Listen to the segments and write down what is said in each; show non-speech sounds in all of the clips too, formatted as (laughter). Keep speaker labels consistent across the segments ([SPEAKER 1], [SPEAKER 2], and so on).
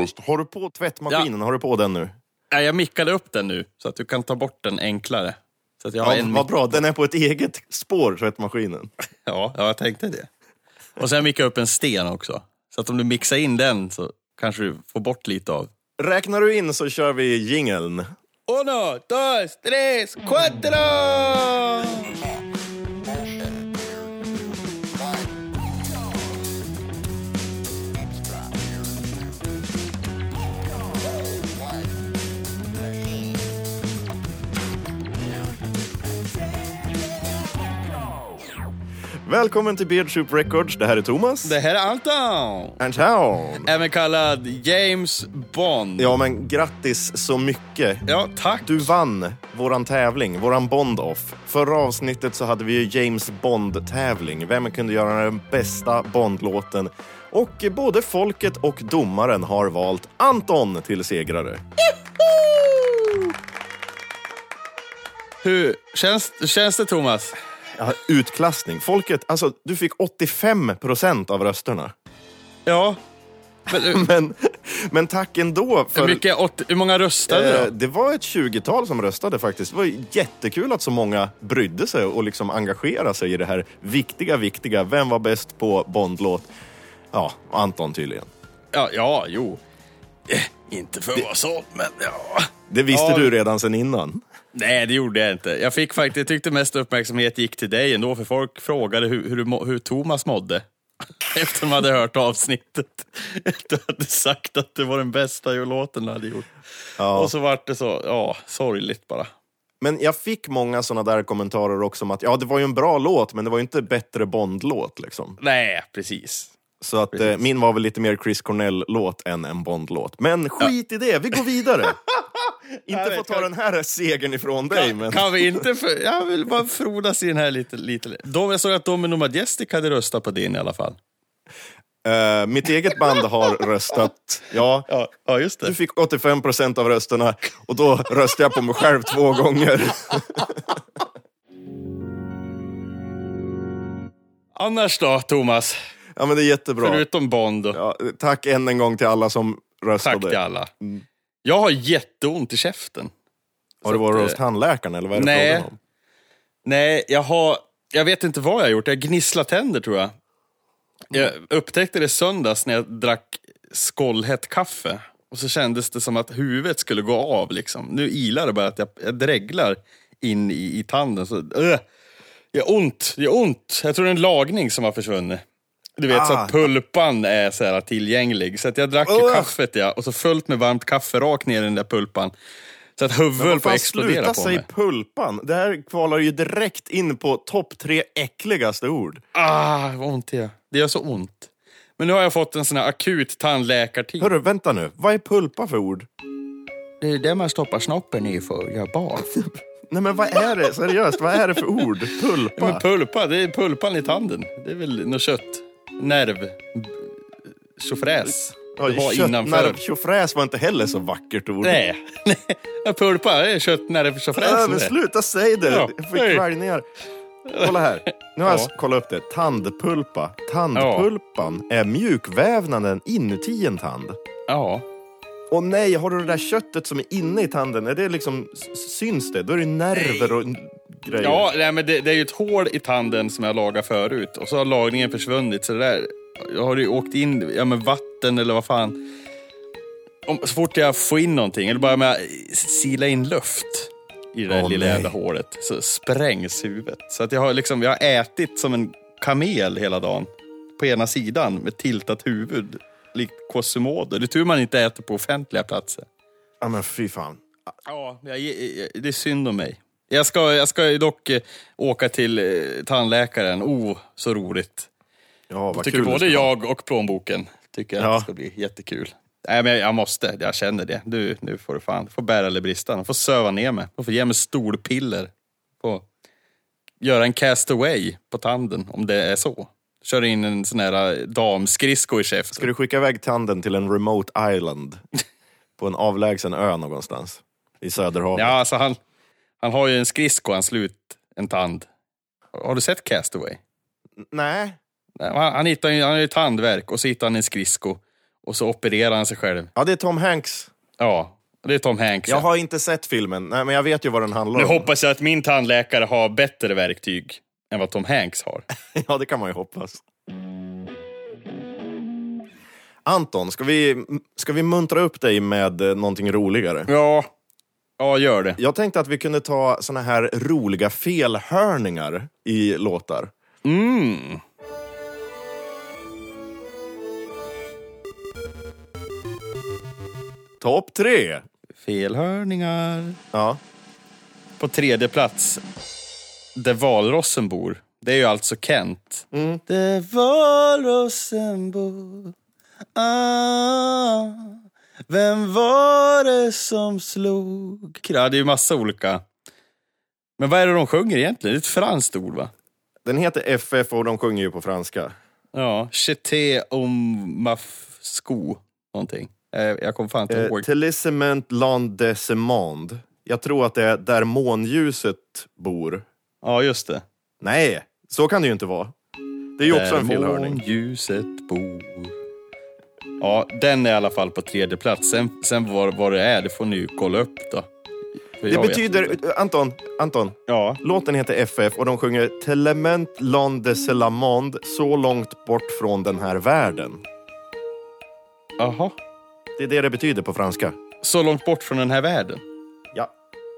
[SPEAKER 1] Just. Har du på tvättmaskinen? Har du på den nu?
[SPEAKER 2] Nej, jag mickade upp den nu så att du kan ta bort den enklare. Så att jag har
[SPEAKER 1] Ja,
[SPEAKER 2] en
[SPEAKER 1] vad
[SPEAKER 2] mick-
[SPEAKER 1] bra, den är på ett eget spår, tvättmaskinen.
[SPEAKER 2] ja, ja, jag tänkte det. Och sen mickade jag upp en sten också. Så att om du mixar in den så kanske du får bort lite av...
[SPEAKER 1] Räknar du in så kör vi jingeln.
[SPEAKER 2] Uno, dos, tres, cuatro!
[SPEAKER 1] Välkommen till Beard Soup Records. Det här är Thomas.
[SPEAKER 2] Det här är Anton!
[SPEAKER 1] Anton.
[SPEAKER 2] Även kallad James Bond.
[SPEAKER 1] Ja, men grattis så mycket.
[SPEAKER 2] Ja, tack.
[SPEAKER 1] Du vann våran tävling, våran Bond-off. Förra avsnittet så hade vi ju James Bond-tävling. Vem kunde göra den bästa Bond-låten? Och både folket och domaren har valt Anton till segrare.
[SPEAKER 2] Hur känns, känns det Thomas?
[SPEAKER 1] Ja, utklassning. Folket, alltså du fick 85 procent av rösterna.
[SPEAKER 2] Ja. Men, eh,
[SPEAKER 1] Men, men tack ändå.
[SPEAKER 2] hur,
[SPEAKER 1] För,
[SPEAKER 2] mycket, åt, hur många röstade
[SPEAKER 1] eh,
[SPEAKER 2] du?
[SPEAKER 1] det var ett 20-tal som röstade faktiskt. Det var ju jättekul att så många brydde sig och liksom engagerade sig i det här viktiga, viktiga. Vem var bäst på Bondlåt? Ja, Anton tydligen.
[SPEAKER 2] Ja, ja, jo. Eh, Inte för att vara sån, men ja.
[SPEAKER 1] Det visste
[SPEAKER 2] Ja.
[SPEAKER 1] du redan sen innan.
[SPEAKER 2] Nej, det gjorde jag inte. Jag fick faktiskt, jag tyckte mest uppmärksamhet gick till dig ändå, för folk frågade hur, hur, du må- hur Thomas mådde. (laughs) Efter de hade hört avsnittet. (laughs) Du hade sagt att det var den bästa låten du hade gjort. Och så vart det så, ja, sorgligt bara.
[SPEAKER 1] Men jag fick många såna där kommentarer också om att ja, det var ju en bra låt, men det var ju inte bättre Bondlåt liksom.
[SPEAKER 2] Nej, precis.
[SPEAKER 1] Så att eh, min var väl lite mer Chris Cornell-låt än en Bond-låt. Men skit i det, vi går
[SPEAKER 2] (laughs)
[SPEAKER 1] vidare!
[SPEAKER 2] Jag
[SPEAKER 1] Inte
[SPEAKER 2] vet,
[SPEAKER 1] få ta
[SPEAKER 2] kan-
[SPEAKER 1] den här segern ifrån dig, men...
[SPEAKER 2] Kan vi inte, för, jag vill bara frodas i den här lite. lite. De, jag såg att Domino Majestic hade röstat på din i alla fall.
[SPEAKER 1] Eh, mitt eget band har röstat, ja.
[SPEAKER 2] Ja, ja just
[SPEAKER 1] Du
[SPEAKER 2] det.
[SPEAKER 1] fick 85 procent av rösterna och då röstade jag på mig själv två gånger. (laughs)
[SPEAKER 2] Annars då, Thomas?
[SPEAKER 1] Ja, men det är jättebra.
[SPEAKER 2] Förutom Bond. och
[SPEAKER 1] Ja, tack än en gång till alla som
[SPEAKER 2] Tack
[SPEAKER 1] röstade.
[SPEAKER 2] till alla. Jag har jätteont i käften.
[SPEAKER 1] Har du
[SPEAKER 2] Så att,
[SPEAKER 1] varit
[SPEAKER 2] eh,
[SPEAKER 1] hos tandläkaren eller vad är det
[SPEAKER 2] Nej.
[SPEAKER 1] frågan om?
[SPEAKER 2] Nej, jag har... Jag vet inte vad jag har gjort. Jag gnisslar tänder, tror jag. Jag upptäckte det söndags när jag drack skållhett kaffe. Och så kändes det som att huvudet skulle gå av. Liksom. Nu ilar det bara att jag, jag dreglar in i, i tanden. Så, öh, jag har ont, jag har ont. Jag tror det är en lagning som har försvunnit. Du vet, så
[SPEAKER 1] Ah.
[SPEAKER 2] att pulpan är så här tillgänglig. Så att jag drack ju
[SPEAKER 1] Ugh.
[SPEAKER 2] kaffet ja, och så fullt med varmt kaffe rakt ner i den där pulpan. Så att huvudet höll på att
[SPEAKER 1] Fan,
[SPEAKER 2] explodera
[SPEAKER 1] sluta
[SPEAKER 2] på
[SPEAKER 1] säg
[SPEAKER 2] mig.
[SPEAKER 1] pulpan. Det här kvalar ju direkt in på topp tre äckligaste ord.
[SPEAKER 2] Ah, vad ont det gör. Det gör så ont. Men nu har jag fått en sån här akut tandläkartid.
[SPEAKER 1] Hörru, vänta nu. Vad är pulpa för ord?
[SPEAKER 2] Det är det man stoppar snoppen i för att göra barn.
[SPEAKER 1] Nej men vad är det? Seriöst, vad är det för
[SPEAKER 2] (laughs)
[SPEAKER 1] ord?
[SPEAKER 2] Men
[SPEAKER 1] Pulpa?
[SPEAKER 2] pulpa, det är pulpan i tanden. Det är väl något kött. Nerv. B- Tjofräs. Det var innanför.
[SPEAKER 1] Köttnerv, tjofräs var inte heller så vackert ord.
[SPEAKER 2] Nej, (laughs) Ja, pulpa det är köttnerv,
[SPEAKER 1] Äh, men
[SPEAKER 2] tjofräs. det.
[SPEAKER 1] sluta säg det!
[SPEAKER 2] Ja,
[SPEAKER 1] Jag
[SPEAKER 2] nej.
[SPEAKER 1] fick kvällningar. Kolla här. Nu har jag
[SPEAKER 2] Ja.
[SPEAKER 1] kollat upp det. Tandpulpa. Tandpulpan är mjukvävnaden inuti en tand.
[SPEAKER 2] Ja.
[SPEAKER 1] Och nej, har du det där köttet som är inne i tanden, är det liksom, s- syns det? Då är det nerver och n- grejer.
[SPEAKER 2] Ja, nej, men det, det är ju ett hål i tanden som jag lagade förut och så har lagningen försvunnit. Så det där jag har det ju åkt in ja, men vatten eller vad fan. Om, så fort jag får in någonting eller bara med att sila in luft i det där
[SPEAKER 1] Åh,
[SPEAKER 2] lilla
[SPEAKER 1] nej.
[SPEAKER 2] jävla hålet så sprängs huvudet. Så att jag har liksom, jag har ätit som en kamel hela dagen på ena sidan med tiltat huvud likt Quasimodo. Det är tur man inte äter på offentliga platser.
[SPEAKER 1] Ja, men fy fan.
[SPEAKER 2] Ja, jag, jag, det är synd om mig. Jag ska, jag ska ju dock eh, åka till eh, tandläkaren. Oh, så roligt.
[SPEAKER 1] Ja, vad
[SPEAKER 2] Tycker
[SPEAKER 1] kul
[SPEAKER 2] både
[SPEAKER 1] det ska vara.
[SPEAKER 2] jag och plånboken tycker att
[SPEAKER 1] Ja.
[SPEAKER 2] det ska bli jättekul. Nej, men jag, jag måste. Jag känner det. Du, nu får du fan, får bära eller brista. De får söva ner mig. De får ge mig stolpiller. Får göra en castaway på tanden, om det är så. Kör in en sån här eh, damskridsko i käften.
[SPEAKER 1] Ska du skicka iväg tanden till en remote island? på en avlägsen ö någonstans? I Söderhavet?
[SPEAKER 2] Ja, alltså han, han har ju en skridsko, han slut, en tand. Har du sett Castaway?
[SPEAKER 1] Nej.
[SPEAKER 2] Nej, Han, han, hittar ju, han har ju tandvärk och så hittar han en skridsko. Och så opererar han sig själv.
[SPEAKER 1] Ja, det är Tom Hanks.
[SPEAKER 2] Ja, det är Tom Hanks.
[SPEAKER 1] Jag har inte sett filmen, nej, men jag vet ju vad den handlar
[SPEAKER 2] Nu
[SPEAKER 1] om.
[SPEAKER 2] hoppas jag att min tandläkare har bättre verktyg än vad Tom Hanks har.
[SPEAKER 1] (laughs) Ja, det kan man ju hoppas. Anton, ska vi, ska vi muntra upp dig med eh, någonting roligare?
[SPEAKER 2] Ja, ja gör det.
[SPEAKER 1] Jag tänkte att vi kunde ta såna här roliga felhörningar i låtar.
[SPEAKER 2] Mm.
[SPEAKER 1] Topp tre!
[SPEAKER 2] Felhörningar.
[SPEAKER 1] Ja.
[SPEAKER 2] På tredje plats, där valrossen bor. Det är ju alltså Kent. Mm. Där valrossen bor. Ah, vem var det som slog? Ja, det är ju massa olika. Men vad är det de sjunger egentligen? Det är ett franskt ord va?
[SPEAKER 1] Den heter FF och de sjunger ju på franska.
[SPEAKER 2] Ja, Cheté om maf sko någonting. Eh, Jag kommer fan inte
[SPEAKER 1] Eh,
[SPEAKER 2] ihåg.
[SPEAKER 1] Télissement landessemande. Jag tror att det är där månljuset bor.
[SPEAKER 2] Ja, just det.
[SPEAKER 1] Nej, så kan det ju inte vara. Det är ju också en
[SPEAKER 2] Där
[SPEAKER 1] felhörning.
[SPEAKER 2] månljuset bor. Ja, den är i alla fall på tredje plats. Sen, sen vad, vad det är, det får ni ju kolla upp då. För
[SPEAKER 1] Det
[SPEAKER 2] jag vet
[SPEAKER 1] betyder...
[SPEAKER 2] inte.
[SPEAKER 1] Anton, Anton.
[SPEAKER 2] Ja,
[SPEAKER 1] Låten heter FF och de sjunger Telement land de Selamond, så långt bort från den här världen.
[SPEAKER 2] aha.
[SPEAKER 1] Det är det det betyder på franska.
[SPEAKER 2] Så långt bort från den här världen.
[SPEAKER 1] Ja.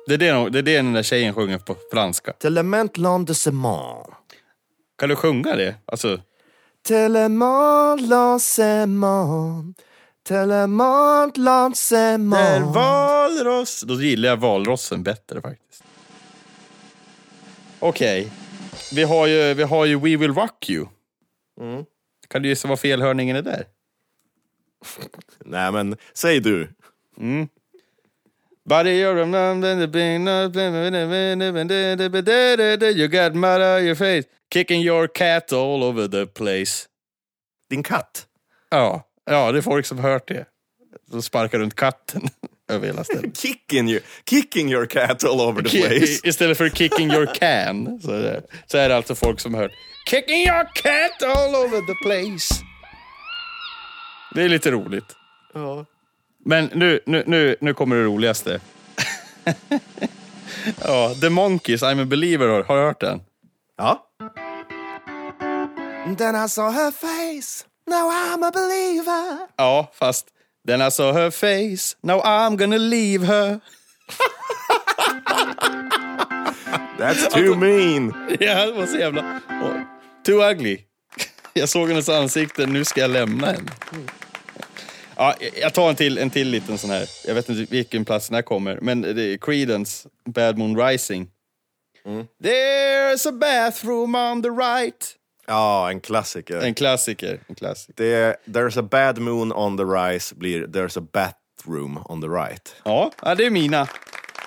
[SPEAKER 2] Det är det, nog- det är det den där tjejen sjunger på franska.
[SPEAKER 1] Telement land de Semant.
[SPEAKER 2] Kan du sjunga det? Alltså,
[SPEAKER 1] Telement land Semant. Telement land
[SPEAKER 2] där
[SPEAKER 1] Semant.
[SPEAKER 2] valross... Då gillar jag valrossen bättre faktiskt. Okej. Vi, har ju, vi har ju We Will Rock You.
[SPEAKER 1] Mm.
[SPEAKER 2] Kan du gissa vad felhörningen är där?
[SPEAKER 1] Nej men, säg du.
[SPEAKER 2] Buddy, you're a man, then the uh, bing, no, bling, bling, bling, bling, bling, bling, bling, bling, bling, bling, you got mud on your face, kicking your cat all over the place.
[SPEAKER 1] Din katt.
[SPEAKER 2] Ja, ja, det är folk som hört det. De sparkar runt katten (laughs) över
[SPEAKER 1] (laughs)
[SPEAKER 2] hela stället.
[SPEAKER 1] Kicking you. Kicking your cat all over the
[SPEAKER 2] Ki-
[SPEAKER 1] place.
[SPEAKER 2] Istället för kicking your can så är, det, så är det alltså folk som hört kicking your cat all over the place. Det är lite roligt.
[SPEAKER 1] Ja.
[SPEAKER 2] Men nu, nu, nu, nu kommer det roligaste. (laughs) ja, The Monkeys, I'm a believer, har har du hört den?
[SPEAKER 1] ja. Then I saw her face, now I'm a believer.
[SPEAKER 2] Ja, fast then I saw her face, now I'm gonna leave her. (laughs)
[SPEAKER 1] That's too mean.
[SPEAKER 2] Ja, det var så jävla... Oh, too ugly. (laughs) Jag såg hennes ansikte, nu ska jag lämna henne. Ja, jag- jag tar en till, en till liten sån här. Jag vet inte vilken plats den här kommer, men det är Creedence, Bad Moon Rising. There's a bathroom on the right.
[SPEAKER 1] Ja, en klassiker.
[SPEAKER 2] En klassiker. En klassiker.
[SPEAKER 1] Det är There's a bad moon on the rise blir There's a bathroom on the right.
[SPEAKER 2] Ja, ja, det är mina.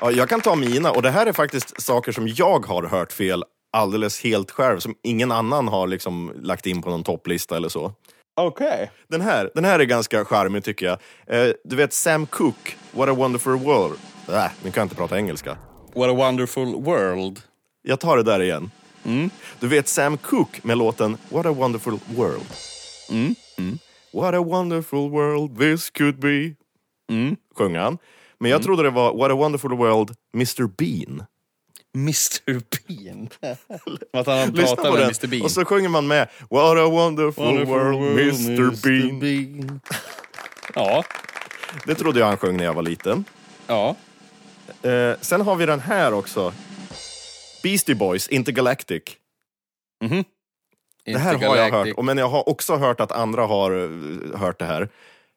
[SPEAKER 1] Ja, jag kan ta mina och det här är faktiskt saker som jag har hört fel alldeles helt själv som ingen annan har liksom lagt in på någon topplista eller så.
[SPEAKER 2] Okej.
[SPEAKER 1] Den här, den här är ganska charmig tycker jag. Eh, du vet Sam Cooke, What a wonderful world. Äh, nu kan jag inte prata engelska.
[SPEAKER 2] What a wonderful world.
[SPEAKER 1] Jag tar det där igen. Mm. Du vet Sam Cooke med låten What a wonderful world. Mm. What a wonderful world this could be. Mm. Sjöng han. Men jag
[SPEAKER 2] Mm.
[SPEAKER 1] trodde det var What a wonderful world Mr Bean.
[SPEAKER 2] Mr Bean. (laughs) Att han
[SPEAKER 1] Lyssna
[SPEAKER 2] pratar
[SPEAKER 1] på
[SPEAKER 2] med
[SPEAKER 1] den.
[SPEAKER 2] Mr Bean.
[SPEAKER 1] Och så sjunger man med What a wonderful,
[SPEAKER 2] Wonderful
[SPEAKER 1] world, Mr Bean.
[SPEAKER 2] Bean. Ja,
[SPEAKER 1] Det trodde jag han sjöng när jag var liten.
[SPEAKER 2] ja.
[SPEAKER 1] Eh, sen har vi den här också. Beastie Boys, Intergalactic. Det här har jag hört,
[SPEAKER 2] Intergalactic.
[SPEAKER 1] och men jag har också hört att andra har eh, hört det här.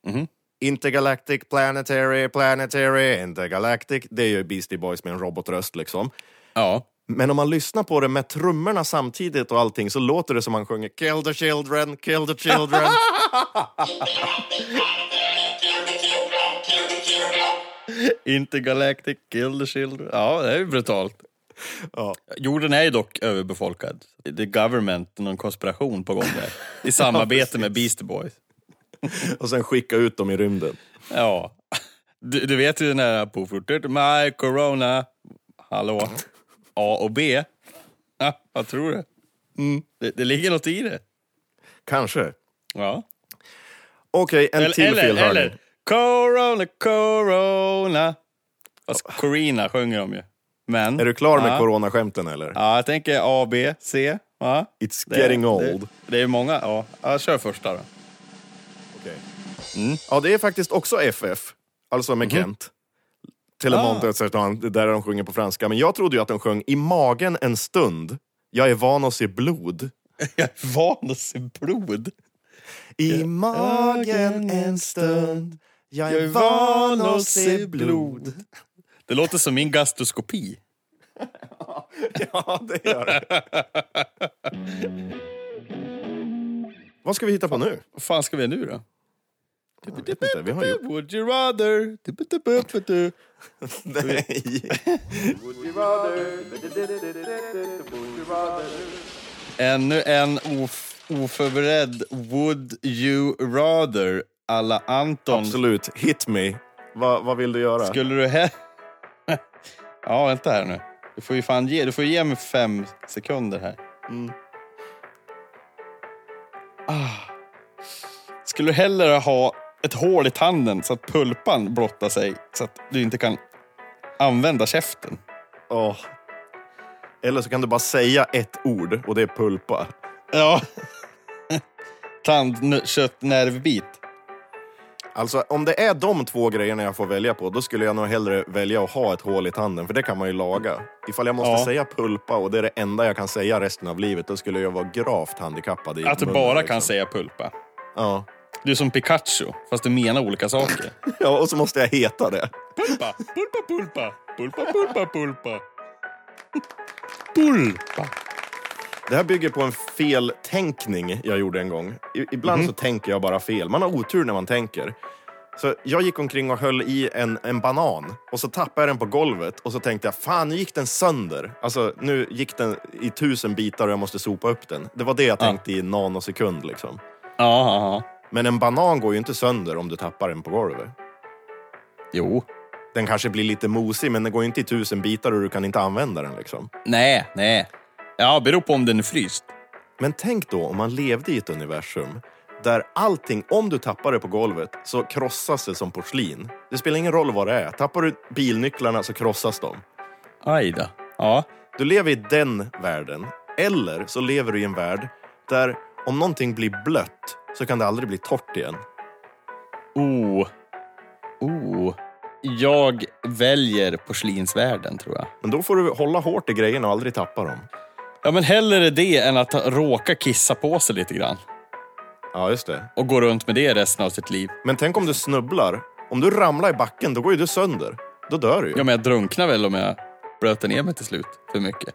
[SPEAKER 2] Mhm.
[SPEAKER 1] Intergalactic, planetary, planetary, intergalactic. Det är ju Beastie Boys med en robotröst liksom.
[SPEAKER 2] Ja.
[SPEAKER 1] Men om man lyssnar på det med trummorna samtidigt och allting så låter det som han sjunger Kill the children, kill the children.
[SPEAKER 2] (laughs) Intergalactic, kill the children. Ja, det är ju brutalt.
[SPEAKER 1] Ja.
[SPEAKER 2] Jorden är ju dock överbefolkad. The government, någon konspiration på gång
[SPEAKER 1] (laughs)
[SPEAKER 2] där. I samarbete med Beastie Boys.
[SPEAKER 1] och sen skicka ut dem i rymden.
[SPEAKER 2] Ja. Du, du vet ju den här på fortet. My corona. Hallå.
[SPEAKER 1] Mm.
[SPEAKER 2] A och B. Ja, vad tror du? Mm. Det, det ligger något i det.
[SPEAKER 1] Kanske.
[SPEAKER 2] Ja.
[SPEAKER 1] Okej, en
[SPEAKER 2] Eller,
[SPEAKER 1] till
[SPEAKER 2] eller,
[SPEAKER 1] felhörning.
[SPEAKER 2] eller Corona, corona. Fast Corina sjunger de ju. Men,
[SPEAKER 1] Är du klar med
[SPEAKER 2] ja.
[SPEAKER 1] coronaskämten eller?
[SPEAKER 2] Ja, jag tänker A, B, C. Ja.
[SPEAKER 1] It's
[SPEAKER 2] Det-
[SPEAKER 1] getting
[SPEAKER 2] det-
[SPEAKER 1] old.
[SPEAKER 2] Det är många. Ja, ja kör första då. (laughs)
[SPEAKER 1] Okej. Mm. Ja, det är faktiskt också FF, alltså med Kent. Telemonte etc. Där de sjunger på franska. Men jag trodde ju att de sjöng i magen en stund. Jag är van att se blod.
[SPEAKER 2] Jag är van att se blod.
[SPEAKER 1] I magen en stund. Jag är van att se blod.
[SPEAKER 2] Det låter som min gastroskopi.
[SPEAKER 1] (laughs) Ja, det gör det. Vad ska vi hitta på nu?
[SPEAKER 2] Vad fan ska vi nu då?
[SPEAKER 1] Jag vet inte, vi har gjort...
[SPEAKER 2] Would you rather...
[SPEAKER 1] Nej.
[SPEAKER 2] Ännu en of oförberedd Would you rather alla Anton.
[SPEAKER 1] Absolut, hit me. Va, vad vill du göra?
[SPEAKER 2] Skulle du... He- (laughs) ja, vänta här nu. Du får ju fan ge, du får ge mig fem sekunder här. Mm. Ah. Skulle du hellre ha ett hål i tanden så att pulpan blottar sig så att du inte kan använda käften?
[SPEAKER 1] Åh. Eller så kan du bara säga ett ord och det är pulpa.
[SPEAKER 2] (laughs) Ja. Tandköttnervbit.
[SPEAKER 1] Alltså om det är de två grejerna jag får välja på, då skulle jag nog hellre välja att ha ett hål i tanden, för det kan man ju laga. Ifall jag måste
[SPEAKER 2] Ja.
[SPEAKER 1] säga pulpa och det är det enda jag kan säga resten av livet, då skulle jag vara gravt handikappad i
[SPEAKER 2] Att du
[SPEAKER 1] munnen,
[SPEAKER 2] bara
[SPEAKER 1] liksom.
[SPEAKER 2] kan säga pulpa.
[SPEAKER 1] Ja.
[SPEAKER 2] Du är som Pikachu, fast du menar olika saker.
[SPEAKER 1] ja, och så måste jag heta det.
[SPEAKER 2] Pulpa, pulpa, pulpa, pulpa, pulpa, pulpa. Pulpa.
[SPEAKER 1] Det här bygger på en feltänkning jag gjorde en gång. I, ibland så tänker jag bara fel. Man har otur när man tänker. Så jag gick omkring och höll i en, en banan och så tappade jag den på golvet och så tänkte jag fan nu gick den sönder. Alltså nu gick den i tusen bitar och jag måste sopa upp den. Det var det jag tänkte i en nanosekund liksom.
[SPEAKER 2] Ja, ja, ja.
[SPEAKER 1] Men en banan går ju inte sönder om du tappar den på golvet.
[SPEAKER 2] Jo.
[SPEAKER 1] Den kanske blir lite mosig men den går ju inte i tusen bitar och du kan inte använda den liksom.
[SPEAKER 2] Nej, nej. Ja, beror på om den är fryst.
[SPEAKER 1] Men tänk då om man levde i ett universum där allting, om du tappar det på golvet, så krossas det som porslin. Det spelar ingen roll vad det är. Tappar du bilnycklarna så krossas de.
[SPEAKER 2] Aj då. Ja.
[SPEAKER 1] Du lever i den världen. Eller så lever du i en värld där om någonting blir blött så kan det aldrig bli torrt igen.
[SPEAKER 2] Oh. Oh. Jag väljer porslinsvärlden, tror jag.
[SPEAKER 1] Men då får du hålla hårt i grejerna och aldrig tappa dem.
[SPEAKER 2] Ja, men hellre det än att råka kissa på sig lite grann
[SPEAKER 1] Ja, just det.
[SPEAKER 2] och gå runt med det resten av sitt liv.
[SPEAKER 1] Men tänk om du snubblar. Om du ramlar i backen, då går ju du sönder. Då dör du ju.
[SPEAKER 2] Ja, men jag drunknar väl om jag blöter ner mig till slut för mycket.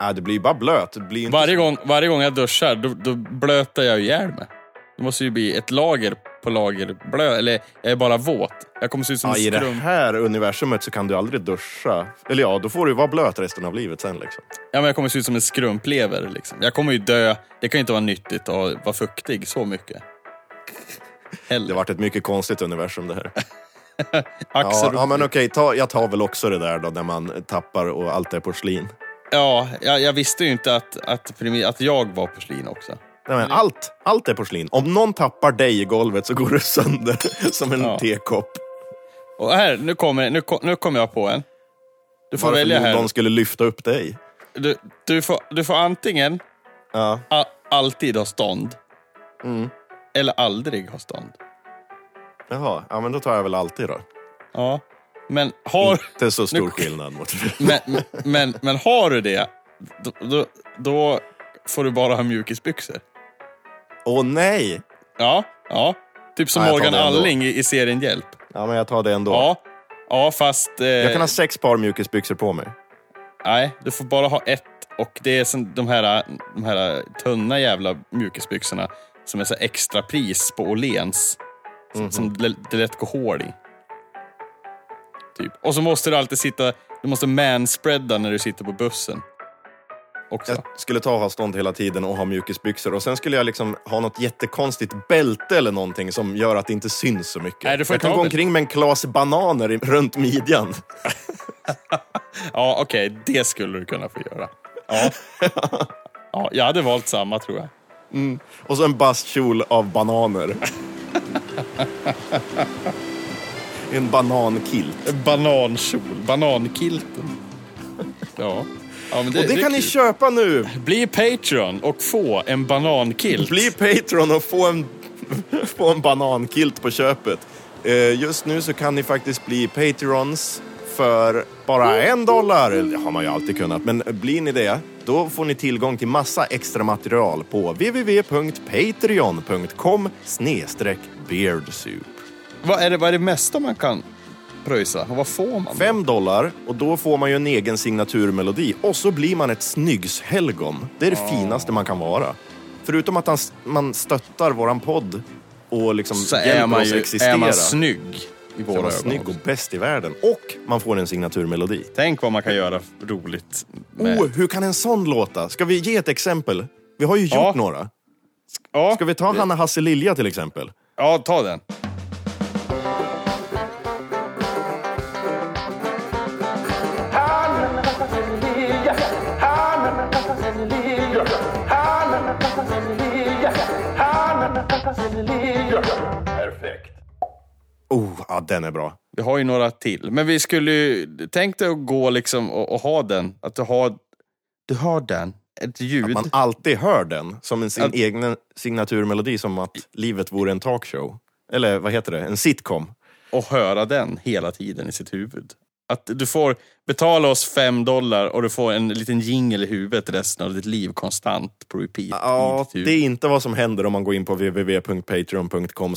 [SPEAKER 1] Nej, du blir ju bara blöt. Äh, Det blir ju inte
[SPEAKER 2] Varje gång, varje gång jag duschar, då, då blötar jag ju ihjäl mig. Det måste ju bli ett lager på lager blö, eller jag är bara våt. Jag kommer se ut som
[SPEAKER 1] Ja,
[SPEAKER 2] en
[SPEAKER 1] I det
[SPEAKER 2] skrum.
[SPEAKER 1] här universumet så kan du aldrig duscha. Eller ja, då får du vara blöt resten av livet sen. Liksom.
[SPEAKER 2] Ja, men jag kommer se ut som en skrumplever. Liksom. Jag kommer ju dö. Det kan ju inte vara nyttigt att vara fuktig så mycket.
[SPEAKER 1] Det
[SPEAKER 2] Heller.
[SPEAKER 1] vart ett mycket konstigt universum det
[SPEAKER 2] (laughs)
[SPEAKER 1] här. Ja,
[SPEAKER 2] Axel,
[SPEAKER 1] ja men okej, ta, jag tar väl också det där då när man tappar och allt är porslin.
[SPEAKER 2] ja, jag, jag visste ju inte att, att, primi- att jag var porslin också.
[SPEAKER 1] Nej,
[SPEAKER 2] Mm.
[SPEAKER 1] men allt, allt är porslin. Om någon tappar dig i golvet så går du sönder (laughs) som en
[SPEAKER 2] Ja.
[SPEAKER 1] tekopp.
[SPEAKER 2] Och här, nu kommer, nu, ko- nu kommer jag på en. Du får
[SPEAKER 1] Varför
[SPEAKER 2] välja här.
[SPEAKER 1] någon skulle lyfta upp dig.
[SPEAKER 2] Du, du, får, du får antingen
[SPEAKER 1] Ja.
[SPEAKER 2] a- alltid ha stånd.
[SPEAKER 1] Mm.
[SPEAKER 2] Eller aldrig ha stånd.
[SPEAKER 1] Jaha, ja, men då tar jag väl alltid då.
[SPEAKER 2] Ja. Men har,
[SPEAKER 1] Det är så stor skillnad mot... (laughs)
[SPEAKER 2] men, (laughs) men, men, men har du det, då, då, då får du bara ha mjukisbyxor.
[SPEAKER 1] Åh nej!
[SPEAKER 2] Ja, ja. Typ som
[SPEAKER 1] Ja, jag tar
[SPEAKER 2] Morgan
[SPEAKER 1] det ändå.
[SPEAKER 2] Alling i, i serien Hjälp.
[SPEAKER 1] Ja, men jag tar det ändå.
[SPEAKER 2] Ja, ja fast... Eh,
[SPEAKER 1] Jag kan ha sex par mjukisbyxor på mig.
[SPEAKER 2] Nej, du får bara ha ett. Och det är som de här, de här tunna jävla mjukisbyxorna som är så här extra pris på Åhléns. Som, som det, det lätt går hål i. Typ. Och så måste du alltid sitta... Du måste manspreada när du sitter på bussen. Också.
[SPEAKER 1] Jag skulle ta avstånd hela tiden och ha mjukisbyxor och sen skulle jag liksom ha något jättekonstigt bälte eller någonting som gör att det inte syns så mycket.
[SPEAKER 2] Nej, du får
[SPEAKER 1] jag
[SPEAKER 2] ta
[SPEAKER 1] kan gå
[SPEAKER 2] av
[SPEAKER 1] omkring med en klas bananer i- runt midjan.
[SPEAKER 2] Ja, okej. det skulle du kunna få göra. Ja. (laughs) ja, jag hade valt samma tror jag. (laughs)
[SPEAKER 1] Och så en bastkjol av bananer. En banankilt.
[SPEAKER 2] Banankjol, banankilten. Ja. ja men det,
[SPEAKER 1] Och det kan ni
[SPEAKER 2] kul.
[SPEAKER 1] köpa nu.
[SPEAKER 2] Bli Patreon och få en banankilt.
[SPEAKER 1] Bli Patreon och få en, (laughs) få en banankilt på köpet. Eh, Just nu så kan ni faktiskt bli Patreons för bara en dollar. Det har man ju alltid kunnat, men blir ni det, då får ni tillgång till massa extra material på www.patreon.com snedstreck beardsoup.
[SPEAKER 2] Vad är det, vad är det mesta man kan pröjsa? Och vad får man? då?
[SPEAKER 1] Fem dollar och då får man ju en egen signaturmelodi och så blir man ett snyggshelgon. Det är det finaste man kan vara. Förutom att han, man stöttar våran podd och liksom
[SPEAKER 2] Så är
[SPEAKER 1] hjälper
[SPEAKER 2] man
[SPEAKER 1] oss
[SPEAKER 2] ju
[SPEAKER 1] existera.
[SPEAKER 2] är man snygg
[SPEAKER 1] så är
[SPEAKER 2] i våra
[SPEAKER 1] man
[SPEAKER 2] ögon.
[SPEAKER 1] snygg och
[SPEAKER 2] också.
[SPEAKER 1] bäst i världen. Och man får en signaturmelodi.
[SPEAKER 2] Tänk vad man kan göra roligt. Med.
[SPEAKER 1] Oh, hur kan en sån låta? Ska vi ge ett exempel? Vi har ju gjort
[SPEAKER 2] Ja.
[SPEAKER 1] några.
[SPEAKER 2] ja,
[SPEAKER 1] Ska vi ta Hanna Hasse Lilja till exempel?
[SPEAKER 2] ja, ta den.
[SPEAKER 3] Perfekt.
[SPEAKER 1] Oh, ja, den är bra.
[SPEAKER 2] Vi har ju några till. Men vi skulle ju... Tänk dig att gå liksom och, och ha den. Att du har... Du har den. Ett ljud.
[SPEAKER 1] Man alltid hör den som en sin
[SPEAKER 2] Att-
[SPEAKER 1] egen signaturmelodi som att livet vore en talkshow. Eller vad heter det? En sitcom.
[SPEAKER 2] och höra den hela tiden i sitt huvud. Att du får betala oss fem dollar och du får en liten jingle i huvudet resten av ditt liv konstant på repeat.
[SPEAKER 1] Ja,
[SPEAKER 2] i
[SPEAKER 1] Mm,
[SPEAKER 2] ditt
[SPEAKER 1] det
[SPEAKER 2] huvud.
[SPEAKER 1] är inte vad som händer om man går in på www.patreon.com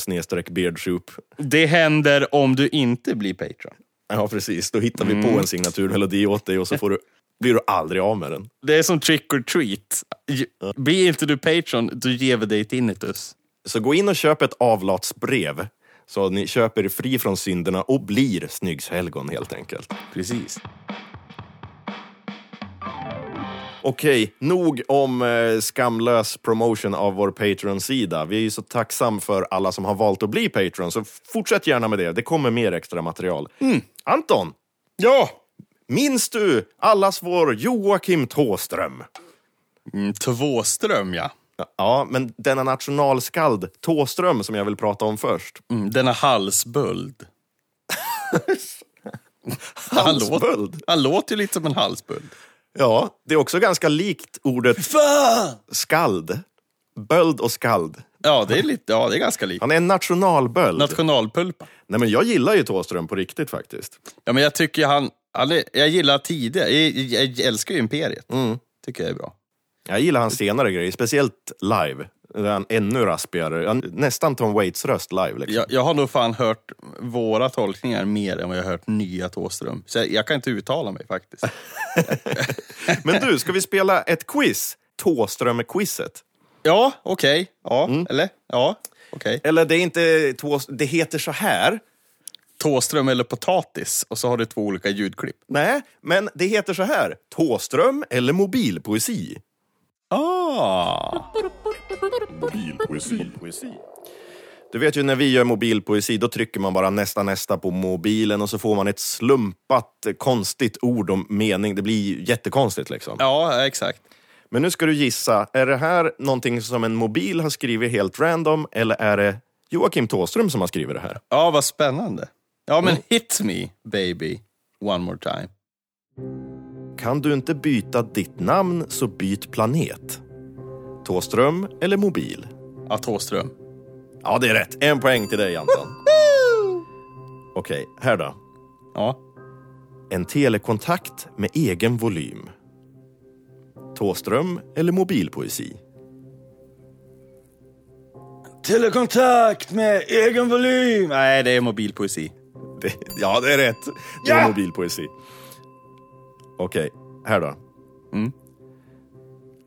[SPEAKER 1] beardsoup.
[SPEAKER 2] det händer om du inte blir Patreon.
[SPEAKER 1] Ja, precis. Då hittar vi på en signaturmelodi åt dig och så får du, blir du aldrig av med den.
[SPEAKER 2] Det är som trick or treat. Ju- Blir inte du Patreon, då ger vi dig tinnitus.
[SPEAKER 1] Så gå in och köp ett avlatsbrev så ni köper er fri från synderna och blir snyggshelgon helt enkelt.
[SPEAKER 2] Precis.
[SPEAKER 1] Okej, nog om eh, skamlös promotion av vår Patreon-sida. Vi är ju så tacksam för alla som har valt att bli Patreon, så fortsätt gärna med det. Det kommer mer extra material. Anton,
[SPEAKER 2] Mm. Ja!
[SPEAKER 1] minns du allas vår Joakim Tåström?
[SPEAKER 2] Mm, Tvåström, ja.
[SPEAKER 1] Ja, men denna nationalskald Tåström som jag vill prata om först.
[SPEAKER 2] Mm, denna halsböld. han, låter,
[SPEAKER 1] (laughs) Halsböld.
[SPEAKER 2] han låter ju lite som en halsböld.
[SPEAKER 1] Ja, det är också ganska likt ordet
[SPEAKER 2] Fan!
[SPEAKER 1] skald. Böld och skald.
[SPEAKER 2] Ja, det är, lite, ja, det är ganska likt.
[SPEAKER 1] Han är en nationalböld.
[SPEAKER 2] Nationalpulpa.
[SPEAKER 1] Nej, men jag gillar ju Tåström på riktigt faktiskt.
[SPEAKER 2] Ja, men jag tycker han... han är, jag gillar tidigare. Jag, jag, jag älskar ju Imperiet. Tycker jag är bra.
[SPEAKER 1] Jag gillar hans senare grejer, speciellt live. Där han ännu raspigare. Han, nästan Tom Waits röst live. Liksom.
[SPEAKER 2] Jag, jag har nog fan hört våra tolkningar mer än vad jag har hört nya Thåström. Så jag, jag kan inte uttala mig faktiskt.
[SPEAKER 1] Men du, ska vi spela ett quiz? Tåström-quizet.
[SPEAKER 2] (laughs) Ja, okej. Ja, eller? Ja, okej.
[SPEAKER 1] Eller det är inte Tås... Det heter så här.
[SPEAKER 2] Thåström eller potatis. Och så har du två olika ljudklipp.
[SPEAKER 1] Nej, men det heter så här. Tåström eller mobilpoesi?
[SPEAKER 2] Ah!
[SPEAKER 1] Du vet ju när vi gör mobilpoesi, då trycker man bara nästa, nästa på mobilen och så får man ett slumpat, konstigt ord och mening. Det blir jättekonstigt liksom.
[SPEAKER 2] Ja, exakt.
[SPEAKER 1] Men nu ska du gissa, är det här någonting som en mobil har skrivit helt random eller är det Joakim Tåström som har skrivit det här?
[SPEAKER 2] Ja, vad spännande. Ja, men hit me, baby. One more time.
[SPEAKER 1] Kan du inte byta ditt namn så byt planet. Tåström eller mobil?
[SPEAKER 2] Ja, Thåström.
[SPEAKER 1] Ja, det är rätt. En poäng till dig, Anton. Okej, här då.
[SPEAKER 2] Ja.
[SPEAKER 1] En telekontakt med egen volym. Tåström eller mobilpoesi?
[SPEAKER 2] Telekontakt med egen volym! Nej, det är mobilpoesi.
[SPEAKER 1] Det, ja, det är rätt. Det är
[SPEAKER 2] Ja!
[SPEAKER 1] mobilpoesi. Okej, här då. Mm.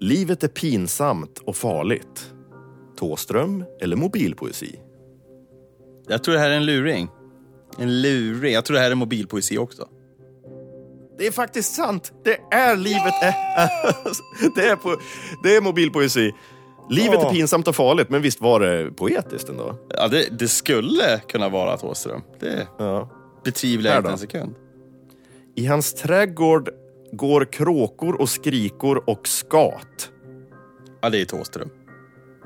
[SPEAKER 1] Livet är pinsamt och farligt. Tåström eller mobilpoesi?
[SPEAKER 2] Jag tror det här är en luring. En luring. Jag tror det här är mobilpoesi också.
[SPEAKER 1] Det är faktiskt sant. Det är livet är... (laughs) det, är på, det är mobilpoesi. Livet är
[SPEAKER 2] Ja.
[SPEAKER 1] pinsamt och farligt, men visst var det poetiskt ändå?
[SPEAKER 2] Ja, det, det skulle kunna vara Thåström. Det
[SPEAKER 1] Ja.
[SPEAKER 2] betvivlar
[SPEAKER 1] Här
[SPEAKER 2] jag inte
[SPEAKER 1] då?
[SPEAKER 2] en sekund.
[SPEAKER 1] I hans trädgård går kråkor och skrikor och skat.
[SPEAKER 2] Ja, det är Thåström.